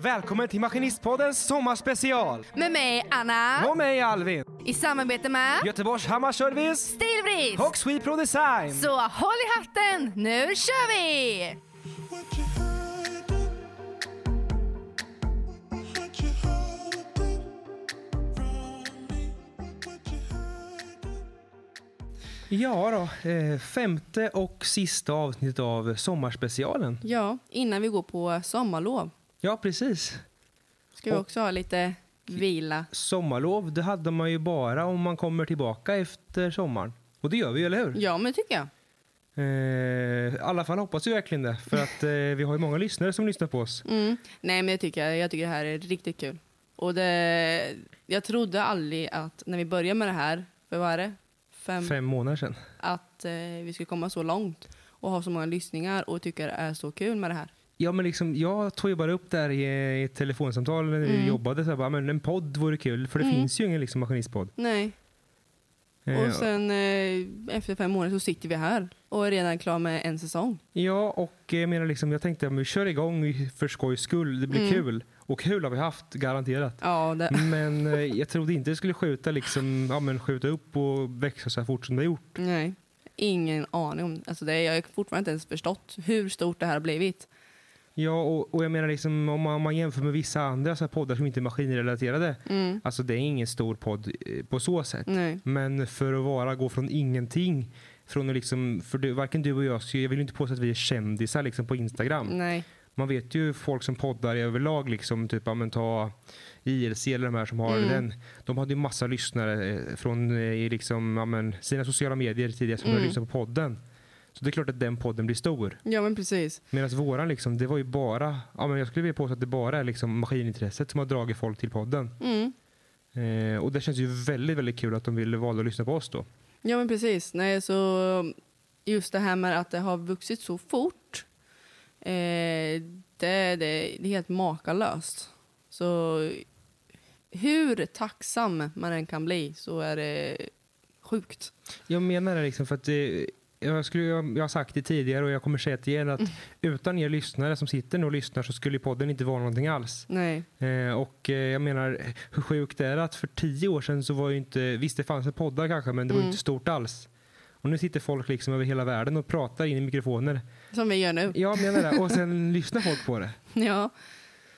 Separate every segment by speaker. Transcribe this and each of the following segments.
Speaker 1: Välkommen till Maskinistpoddens sommarspecial!
Speaker 2: Med mig Anna,
Speaker 1: Och mig Alvin!
Speaker 2: i samarbete med
Speaker 1: Göteborgs Hammarservice
Speaker 2: Stilbrist.
Speaker 1: och Swepro Design!
Speaker 2: Så håll i hatten, nu kör vi!
Speaker 3: What you hiding? What you hiding from me? What you hiding?
Speaker 1: Ja då, eh, femte och sista avsnittet av sommarspecialen.
Speaker 4: Ja, innan vi går på sommarlov
Speaker 1: Ja, precis.
Speaker 4: ska vi också ha lite vila.
Speaker 1: Sommarlov, det hade man ju bara om man kommer tillbaka efter sommaren. Och det gör vi, eller hur?
Speaker 4: Ja, men det tycker jag.
Speaker 1: Eh, I alla fall hoppas vi verkligen det, för att eh, vi har ju många lyssnare som lyssnar på oss.
Speaker 4: Mm. Nej, men jag tycker, jag Jag tycker det här är riktigt kul. Och det, jag trodde aldrig att när vi började med det här, för vad är det? Fem,
Speaker 1: Fem månader sedan.
Speaker 4: Att eh, vi skulle komma så långt och ha så många lyssningar och tycka det är så kul med det här.
Speaker 1: Ja, men liksom, jag tog ju bara upp det här i, i ett telefonsamtal när vi jobbade. Så jag bara, men en podd vore kul, för det finns ju ingen liksom, maskinistpodd.
Speaker 4: Nej,
Speaker 1: Eh,
Speaker 4: och sen eh, efter fem månader så sitter vi här och är redan klar med en säsong.
Speaker 1: Ja, och eh, jag menar liksom, jag tänkte att vi kör igång för skojs skull. Det blir kul. Och kul har vi haft, garanterat.
Speaker 4: Ja, det,
Speaker 1: Men eh, jag trodde inte det skulle skjuta, liksom, ja, men skjuta upp och växa så här fort som det har gjort.
Speaker 4: Nej, ingen aning om alltså det. Jag har fortfarande inte ens förstått hur stort det här har blivit.
Speaker 1: Ja, och, och jag menar liksom, om, man, om man jämför med vissa andra så här poddar som inte är maskinrelaterade.
Speaker 4: Mm.
Speaker 1: Alltså det är ingen stor podd eh, på så sätt.
Speaker 4: Nej.
Speaker 1: Men för att vara, gå från ingenting. Från att liksom, för du, varken du och jag, så jag vill inte påstå att vi är kändisar liksom på Instagram.
Speaker 4: Nej.
Speaker 1: Man vet ju folk som poddar i överlag, liksom, typ ja, men ta IRC eller de här som har den. De hade ju massa lyssnare eh, från eh, i liksom, ja, men, sina sociala medier tidigare som började lyssna på podden. Så det är klart att den podden blir stor.
Speaker 4: Ja, men precis.
Speaker 1: Medan våran, liksom, det var ju bara, ja, men jag skulle vilja påstå att det bara är liksom, maskinintresset som har dragit folk till podden.
Speaker 4: Mm.
Speaker 1: Eh, och det känns ju väldigt, väldigt kul att de ville valde att lyssna på oss då.
Speaker 4: Ja, men precis. Nej, så just det här med att det har vuxit så fort, eh, det, det, det är helt makalöst. Så hur tacksam man än kan bli så är det sjukt.
Speaker 1: Jag menar det liksom för att eh, jag, skulle, jag, jag har sagt det tidigare och jag kommer säga det igen att utan er lyssnare som sitter nu och lyssnar så skulle ju podden inte vara någonting alls.
Speaker 4: Nej.
Speaker 1: Eh, och eh, jag menar hur sjukt är det att för tio år sedan så var ju inte, visst det fanns en poddar kanske men det var ju inte stort alls. Och nu sitter folk liksom över hela världen och pratar in i mikrofoner.
Speaker 4: Som vi gör nu.
Speaker 1: Jag menar det och sen lyssnar folk på det.
Speaker 4: Ja.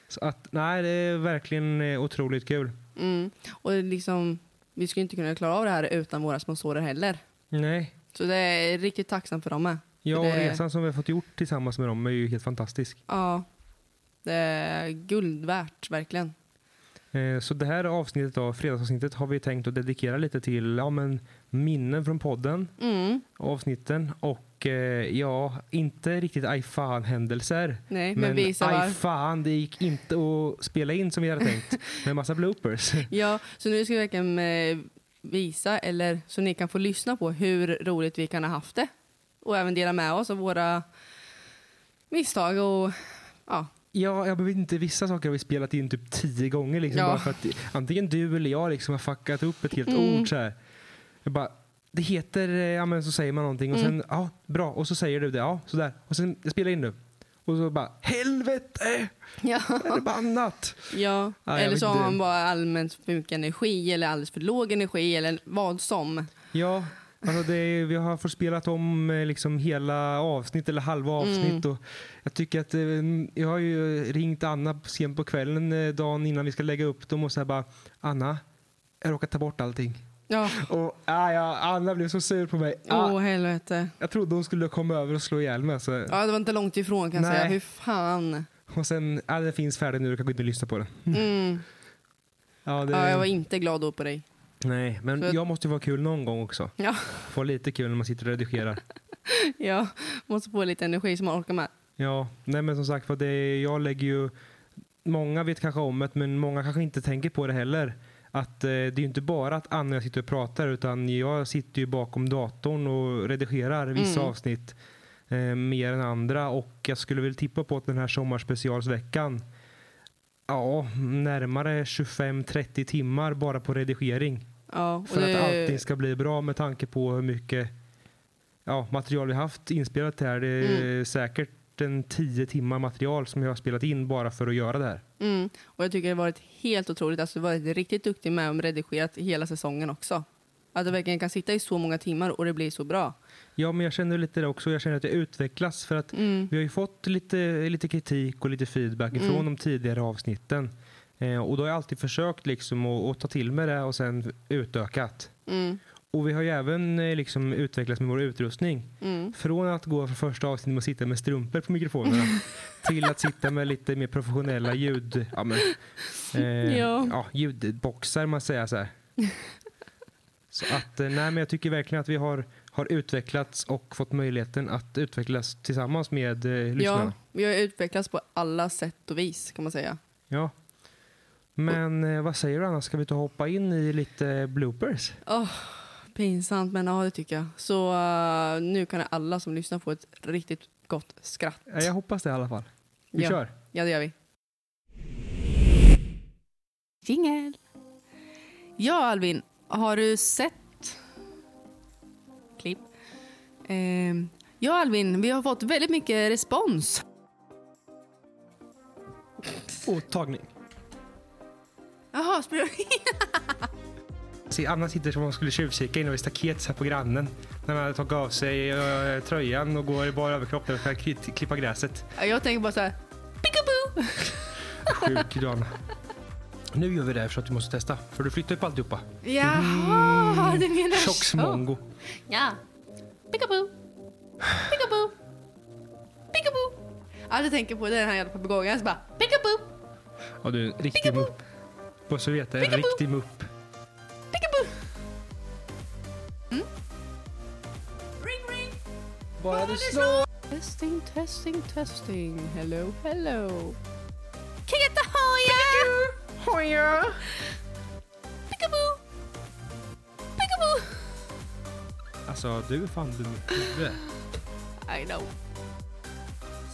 Speaker 1: Så att nej det är verkligen eh, otroligt kul.
Speaker 4: Mm. Och liksom, vi skulle inte kunna klara av det här utan våra sponsorer heller.
Speaker 1: Nej.
Speaker 4: Så det är riktigt tacksam för dem med.
Speaker 1: Ja, och
Speaker 4: För det-
Speaker 1: resan som vi har fått gjort tillsammans med dem är ju helt fantastisk.
Speaker 4: Ja. Det är guld värt, verkligen.
Speaker 1: Eh, Så det här avsnittet av fredagsavsnittet har vi tänkt att dedikera lite till ja, men, minnen från podden,
Speaker 4: Mm.
Speaker 1: avsnitten och eh, ja, inte riktigt aj fan händelser.
Speaker 4: Nej, men, visa
Speaker 1: aj
Speaker 4: var.
Speaker 1: fan, det gick inte att spela in som vi hade tänkt med massa bloopers.
Speaker 4: Ja, så nu ska vi verkligen eh, visa, eller så ni kan få lyssna på hur roligt vi kan ha haft det. Och även dela med oss av våra misstag och ja.
Speaker 1: Ja, jag vet inte, vissa saker har vi spelat in typ tio gånger. Liksom,
Speaker 4: Ja.
Speaker 1: bara för att, antingen du eller jag liksom har fuckat upp ett helt ord. Så här. Jag bara, det heter, eh, ja men så säger man någonting och sen, ja bra, och så säger du det, ja sådär. Och sen, jag spelar in nu. Och så bara, helvete!
Speaker 4: Ja,
Speaker 1: Förbannat!
Speaker 4: ja.
Speaker 1: jag
Speaker 4: eller
Speaker 1: vet
Speaker 4: så har
Speaker 1: inte.
Speaker 4: man bara allmänt för mycket energi eller alldeles för låg energi eller vad som.
Speaker 1: Ja, alltså det, är- vi har fått spelat om eh, liksom hela avsnitt eller
Speaker 4: Mm.
Speaker 1: halva avsnitt. Och jag tycker att eh, jag har ju ringt Anna sent på kvällen eh, dagen innan vi ska lägga upp dem och så här bara Anna, jag råkade ta bort allting.
Speaker 4: Ja,
Speaker 1: Och ah, ja, Anna blev så sur på mig.
Speaker 4: åh
Speaker 1: Ah,
Speaker 4: helvete.
Speaker 1: jag trodde hon skulle komma över och slå ihjäl mig. Alltså.
Speaker 4: Ja, det var inte långt ifrån kan jag
Speaker 1: Nej.
Speaker 4: säga. Hur fan.
Speaker 1: Och sen, ah, den finns färdig nu, du kan gå in och lyssna på den.
Speaker 4: Mm.
Speaker 1: Ja, det,
Speaker 4: Ja, jag var inte glad då på dig.
Speaker 1: Nej, men
Speaker 4: För-
Speaker 1: jag måste ju vara kul någon gång också.
Speaker 4: Ja,
Speaker 1: Få lite kul när man sitter och redigerar.
Speaker 4: ja. måste få lite energi så man orkar med.
Speaker 1: Ja, nej men som sagt för det, jag lägger ju, många vet kanske om det men många kanske inte tänker på det heller. Att eh, det är ju inte bara att Anna och jag sitter och pratar utan jag sitter ju bakom datorn och redigerar vissa avsnitt eh, mer än andra och jag skulle väl tippa på att den här sommarspecialsveckan Ja, närmare 25-30 timmar bara på redigering.
Speaker 4: Ja, och
Speaker 1: För
Speaker 4: det-
Speaker 1: att allting ska bli bra med
Speaker 4: Mm.
Speaker 1: tanke på hur mycket ja, material vi haft inspelat här. Det är säkert säkert en tio timmar material som jag har spelat in bara för att göra det här.
Speaker 4: Mm. Och jag tycker det har varit helt otroligt. Alltså, du har varit riktigt duktig med att redigera hela säsongen också. Att du verkligen kan sitta i så många timmar och det blir så bra.
Speaker 1: Ja, men jag känner lite det också. Jag känner att jag utvecklas för att
Speaker 4: Mm.
Speaker 1: vi har ju fått lite, lite kritik och lite feedback ifrån
Speaker 4: Mm.
Speaker 1: de tidigare avsnitten. Eh, och då har jag alltid försökt liksom att, att ta till mig det och sen utökat.
Speaker 4: Mm.
Speaker 1: Och vi har ju även eh, liksom utvecklats med vår utrustning.
Speaker 4: Mm.
Speaker 1: Från att gå från första avsnittet med att sitta med strumpor på mikrofonerna till att sitta med lite mer professionella ljud, ja, men, eh,
Speaker 4: Ja.
Speaker 1: ja, ljudboxar man säger så här. Så att, eh, nej, men jag tycker verkligen att vi har, har utvecklats och fått möjligheten att utvecklas tillsammans med eh,
Speaker 4: Ja,
Speaker 1: lyssnarna.
Speaker 4: vi har utvecklats på alla sätt och vis kan man säga.
Speaker 1: Ja. Men eh, vad säger du annars? Ska vi ta och hoppa in i lite bloopers?
Speaker 4: Pinsamt, men ja det tycker jag. Så eh, nu kan alla som lyssnar få ett riktigt gott skratt.
Speaker 1: Ja, Jag hoppas det i alla fall. Vi
Speaker 4: Ja.
Speaker 1: kör!
Speaker 4: Ja, det gör vi.
Speaker 5: Jingel!
Speaker 4: Ja, Alvin, har du sett... Klipp. Ehm, ja, Alvin, vi har fått väldigt mycket respons.
Speaker 1: Och tagning.
Speaker 4: Jaha, spelar vi
Speaker 1: Se, Anna sitter som om hon skulle tjuvkika inom ett staket så här på grannen. När man hade tagit av sig eh, tröjan och går i bara överkropp där för att kli- klippa gräset.
Speaker 4: Ja, Jag tänker bara så här... Peekaboo!
Speaker 1: Sjuk du, Anna. Nu gör vi det här för att du måste testa. För du flyttar upp alltihopa.
Speaker 4: Jaha, du menar så.
Speaker 1: Tjock mongo.
Speaker 5: Ja. Peekaboo! Peekaboo! Peekaboo!
Speaker 4: Allt jag tänker på det är den här jävla papegojan som bara...
Speaker 5: Peekaboo!
Speaker 1: Ja, du är en riktig mupp. Och så vet jag, en riktig mupp.
Speaker 5: Peekaboo!
Speaker 1: Bara du slår.
Speaker 4: Testing, testing, testing. Hello, hello.
Speaker 5: Kiketa hoja!
Speaker 4: Hoja!
Speaker 5: Peekaboo! Peekaboo!
Speaker 1: Alltså, du är fan dum i huvudet.
Speaker 4: I know.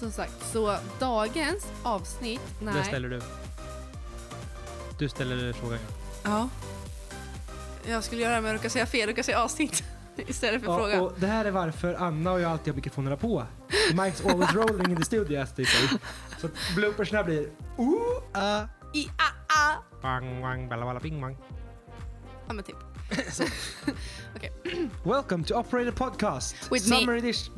Speaker 4: Som sagt, så dagens avsnitt... Nej.
Speaker 1: Det ställer du. Du ställer frågan.
Speaker 4: Ja. Jag skulle göra det men jag råkade säga fel. Jag råkade säga avsnitt istället för fråga.
Speaker 1: och det här är varför Anna och jag alltid har mikrofonerna på. Mike's always rolling in the studio, as they say. Så att bloopersna blir... Ooh, ah.
Speaker 4: I, a, a.
Speaker 1: Bang, bang, balla, balla, bing, bang.
Speaker 4: Ja men typ.
Speaker 1: Welcome to Operator Podcast
Speaker 2: With me.
Speaker 1: Summer Edition.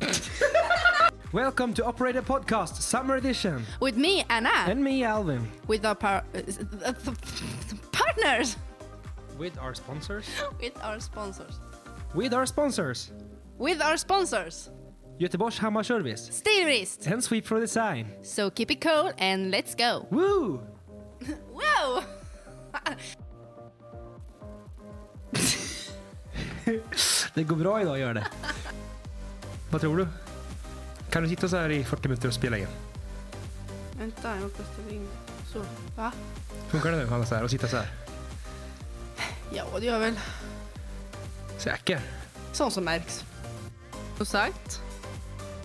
Speaker 1: Welcome to Operator Podcast Summer Edition.
Speaker 2: With me, Anna.
Speaker 1: And me, Alvin.
Speaker 2: With our par- uh, partners.
Speaker 1: With our sponsors.
Speaker 4: With our sponsors.
Speaker 1: With our sponsors.
Speaker 4: With our sponsors.
Speaker 1: Göteborgs Hammarservice.
Speaker 2: Steerist.
Speaker 1: And Sweep for Design.
Speaker 2: So keep it cool and let's go.
Speaker 1: Woo!
Speaker 2: Wow!
Speaker 1: Det går bra idag, gör det. Vad tror du? Kan du sitta så här i 40 minuter och spela in?
Speaker 4: Vänta, jag måste ställa in. Så. Va?
Speaker 1: Funkar det nu, Hanna, så här och sitta så här?
Speaker 4: Ja, det gör väl.
Speaker 1: Säker?
Speaker 4: Sånt som märks. Som sagt,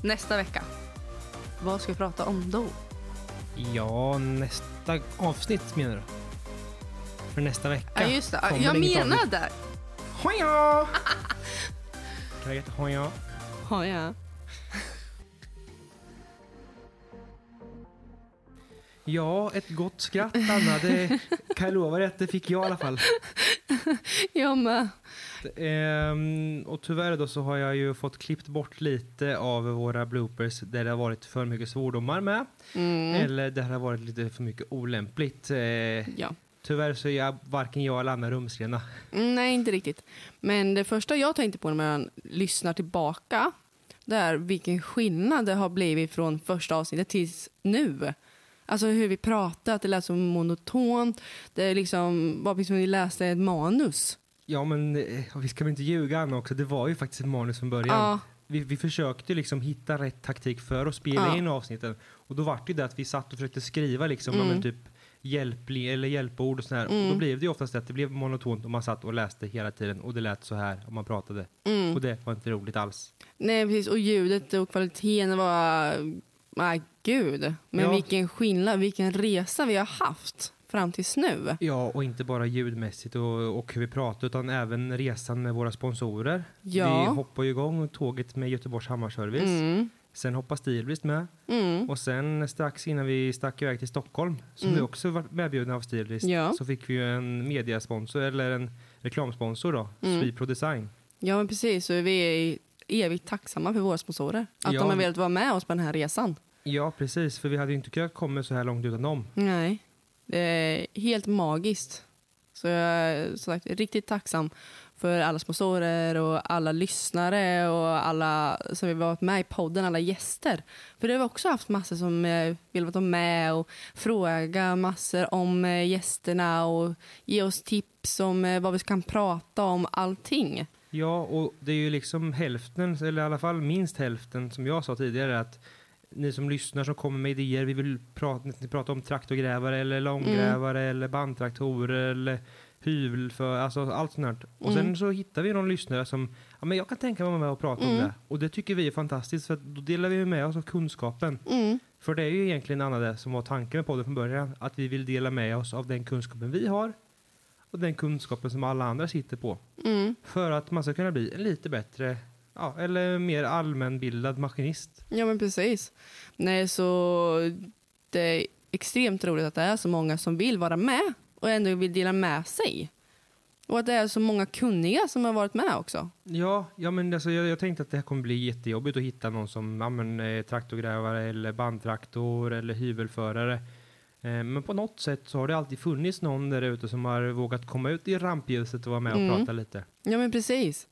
Speaker 4: nästa vecka. Vad ska vi prata om då?
Speaker 1: Ja, nästa avsnitt menar du? För nästa vecka.
Speaker 4: Ja, just det.
Speaker 1: kommer
Speaker 4: jag
Speaker 1: inget avsnitt.
Speaker 4: menade.
Speaker 1: Hoja! Kan jag heta hoja?
Speaker 4: Ja, ja.
Speaker 1: Ja, ett gott skratt Anna. Det kan jag lova dig att det fick jag i alla fall.
Speaker 4: Jag med.
Speaker 1: Ehm, och tyvärr då så har jag ju fått klippt bort lite av våra bloopers där det har varit för mycket svordomar med.
Speaker 4: Mm.
Speaker 1: Eller där det har varit lite för mycket olämpligt. Eh,
Speaker 4: Ja.
Speaker 1: tyvärr så är jag varken jag eller Anna rumsrena.
Speaker 4: Mm, Nej, inte riktigt. Men det första jag tänkte på när man lyssnar tillbaka det är vilken skillnad det har blivit från första avsnittet tills nu. Alltså hur vi pratat, det lät så monotont. Det liksom var precis som vi läste ett manus.
Speaker 1: Ja men eh, vi ska väl inte ljuga Anna också. Det var ju faktiskt ett manus från början.
Speaker 4: Ja.
Speaker 1: Vi, vi försökte liksom hitta rätt taktik för att spela
Speaker 4: Ja.
Speaker 1: in avsnitten. Och då var det ju det att vi satt och försökte skriva liksom, ja,
Speaker 4: Mm.
Speaker 1: men typ hjälpli, eller hjälpord och sådär. Och då blev det ju oftast att det blev monotont och man satt och läste hela tiden och det lät så här om man pratade.
Speaker 4: Mm.
Speaker 1: Och det var inte roligt alls.
Speaker 4: Nej, precis. Och ljudet och kvaliteten var... Nej, gud. Men
Speaker 1: Ja.
Speaker 4: vilken skillnad, vilken resa vi har haft fram tills nu.
Speaker 1: Ja, och inte bara ljudmässigt och, och hur vi pratar utan även resan med våra sponsorer.
Speaker 4: Ja.
Speaker 1: Vi hoppar ju igång tåget med Göteborgs Hammarservice.
Speaker 4: Mm.
Speaker 1: Sen hoppade Stilbrist med.
Speaker 4: Mm.
Speaker 1: Och sen strax innan vi stack iväg till Stockholm, som
Speaker 4: Mm.
Speaker 1: vi också var medbjudna av Stilbrist,
Speaker 4: Ja.
Speaker 1: så fick vi ju en mediasponsor, eller en reklamsponsor då,
Speaker 4: Mm.
Speaker 1: Swipro Design.
Speaker 4: Ja, men precis. Så vi är evigt tacksamma för våra sponsorer. Att
Speaker 1: Ja.
Speaker 4: de har velat vara med oss på den här resan.
Speaker 1: Ja, precis, för vi hade ju inte kunnat komma så här långt utan dem.
Speaker 4: Nej. Det är helt magiskt. Så jag är som sagt riktigt tacksam för alla sponsorer och alla lyssnare och alla som har varit med i podden, alla gäster. För det har vi också haft massor som eh, vill vara med och fråga massor om eh, gästerna och ge oss tips om eh, vad vi kan prata om, allting.
Speaker 1: Ja, och det är ju liksom hälften, eller i alla fall minst hälften, som jag sa tidigare, att ni som lyssnar som kommer med idéer, vi vill prata, ni pratar om traktorgrävare eller långgrävare eller bandtraktorer eller hyvl för, alltså allt sånt här. Och sen så hittar vi någon lyssnare som, ja men jag kan tänka mig att vara med och prata om det. Och det tycker vi är fantastiskt för att då delar vi med oss av kunskapen. För det är ju egentligen Anna det som var tanken med podden från början, att vi vill dela med oss av den kunskapen vi har och den kunskapen som alla andra sitter på. För att man ska kunna bli en lite bättre, ja, eller mer allmänbildad maskinist.
Speaker 4: Ja men precis. Nej så det är extremt roligt att det är så många som vill vara med och ändå vill dela med sig. Och att det är så många kunniga som har varit med också.
Speaker 1: Ja, ja men alltså, jag, jag tänkte att det här kommer bli jättejobbigt att hitta någon som ja, men, eh, traktorgrävare eller bandtraktor eller hyvelförare. Eh, men på något sätt så har det alltid funnits någon där ute som har vågat komma ut i rampljuset och vara med och
Speaker 4: Mm.
Speaker 1: prata lite.
Speaker 4: Ja men precis.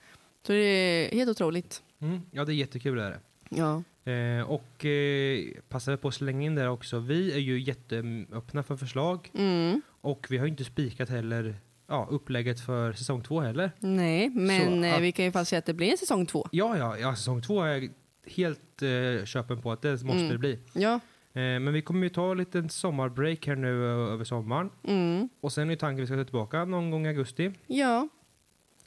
Speaker 4: Så det är helt otroligt.
Speaker 1: Mm, ja, det är jättekul det är det.
Speaker 4: Ja.
Speaker 1: Eh, och eh, passar på att slänga in där också, vi är ju jätteöppna för förslag
Speaker 4: Mm.
Speaker 1: och vi har ju inte spikat heller ja, upplägget för säsong två heller.
Speaker 4: Nej men
Speaker 1: Så
Speaker 4: eh,
Speaker 1: att-
Speaker 4: vi kan ju fast säga att det blir en säsong två.
Speaker 1: Ja, ja, ja säsong två är jag helt eh, köpen på att det måste
Speaker 4: Mm.
Speaker 1: det bli. Eh,
Speaker 4: Ja.
Speaker 1: men vi kommer ju ta en liten sommarbreak här nu eh, över sommaren.
Speaker 4: Mm.
Speaker 1: Och sen är ju tanken att vi ska ta tillbaka någon gång i augusti.
Speaker 4: Ja.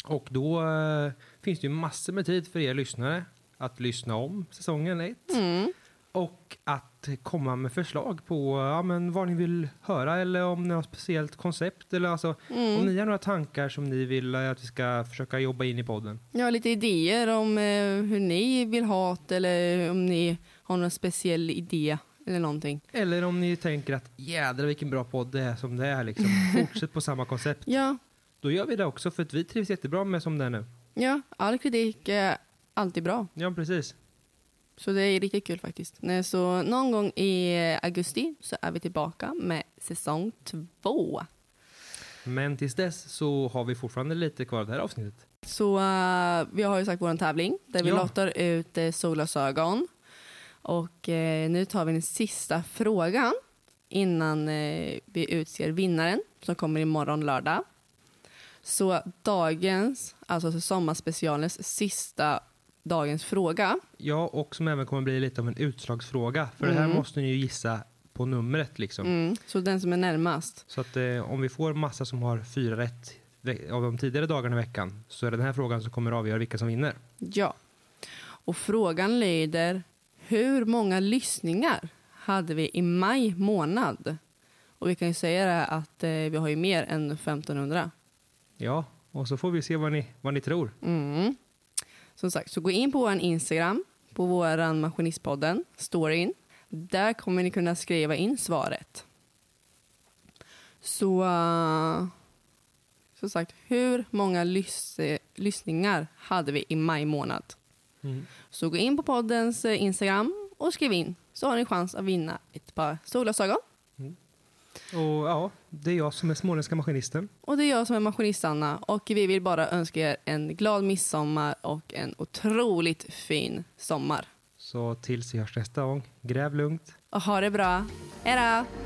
Speaker 1: Och då eh, finns det ju massor med tid för er lyssnare att lyssna om säsongen ett.
Speaker 4: Mm.
Speaker 1: Och att komma med förslag på ja, men vad ni vill höra eller om ni har ett speciellt koncept. Eller alltså,
Speaker 4: Mm.
Speaker 1: Om ni har några tankar som ni vill eh, att vi ska försöka jobba in i podden.
Speaker 4: Ja, lite idéer om eh, hur ni vill ha det eller om ni har någon speciell idé eller någonting.
Speaker 1: Eller om ni tänker att jädra vilken bra podd det är som det är liksom. Fortsätt på samma koncept.
Speaker 4: Ja,
Speaker 1: Då gör vi det också för att vi trivs jättebra med som det är nu.
Speaker 4: Ja, all kritik är alltid bra.
Speaker 1: Ja precis.
Speaker 4: Så det är riktigt kul faktiskt. Nej, så någon gång i augusti så är vi tillbaka med säsong två.
Speaker 1: Men tills dess så har vi fortfarande lite kvar av det här avsnittet.
Speaker 4: Så eh, vi har ju sagt vår tävling där vi
Speaker 1: Ja.
Speaker 4: lottar ut uh, solglasögon. Och eh, nu tar vi den sista frågan innan eh, vi utser vinnaren som kommer imorgon lördag. Så dagens, alltså sommarspecialens sista dagens fråga.
Speaker 1: Ja och som även kommer bli lite av en utslagsfråga. För det här
Speaker 4: Mm.
Speaker 1: måste ni ju gissa på numret liksom.
Speaker 4: Mm, så den som är närmast
Speaker 1: Så att eh, om vi får massa som har fyra rätt ve- av de tidigare dagarna i veckan så är det den här frågan som kommer avgöra vilka som vinner.
Speaker 4: Ja. Och frågan lyder, hur många lyssningar hade vi i maj månad? Och vi kan ju säga det här att eh, vi har ju mer än 1500.
Speaker 1: Ja och så får vi se vad ni, vad ni tror.
Speaker 4: Mm. Som sagt, så gå in på vår Instagram, på vår Maskinistpodden, storyn. Där kommer ni kunna skriva in svaret. Så, eh, som sagt, hur många lys- eh, lyssningar hade vi i maj månad?
Speaker 1: Mm.
Speaker 4: Så gå in på poddens eh, Instagram och skriv in så har ni chans att vinna ett par solglasögon.
Speaker 1: Och ja, det är jag som är småländska maskinisten.
Speaker 4: Och det är jag som är maskinist Anna och vi vill bara önska er en glad midsommar och en otroligt fin sommar.
Speaker 1: Så tills vi hörs nästa gång, gräv lugnt.
Speaker 4: Och ha det bra. Hej då!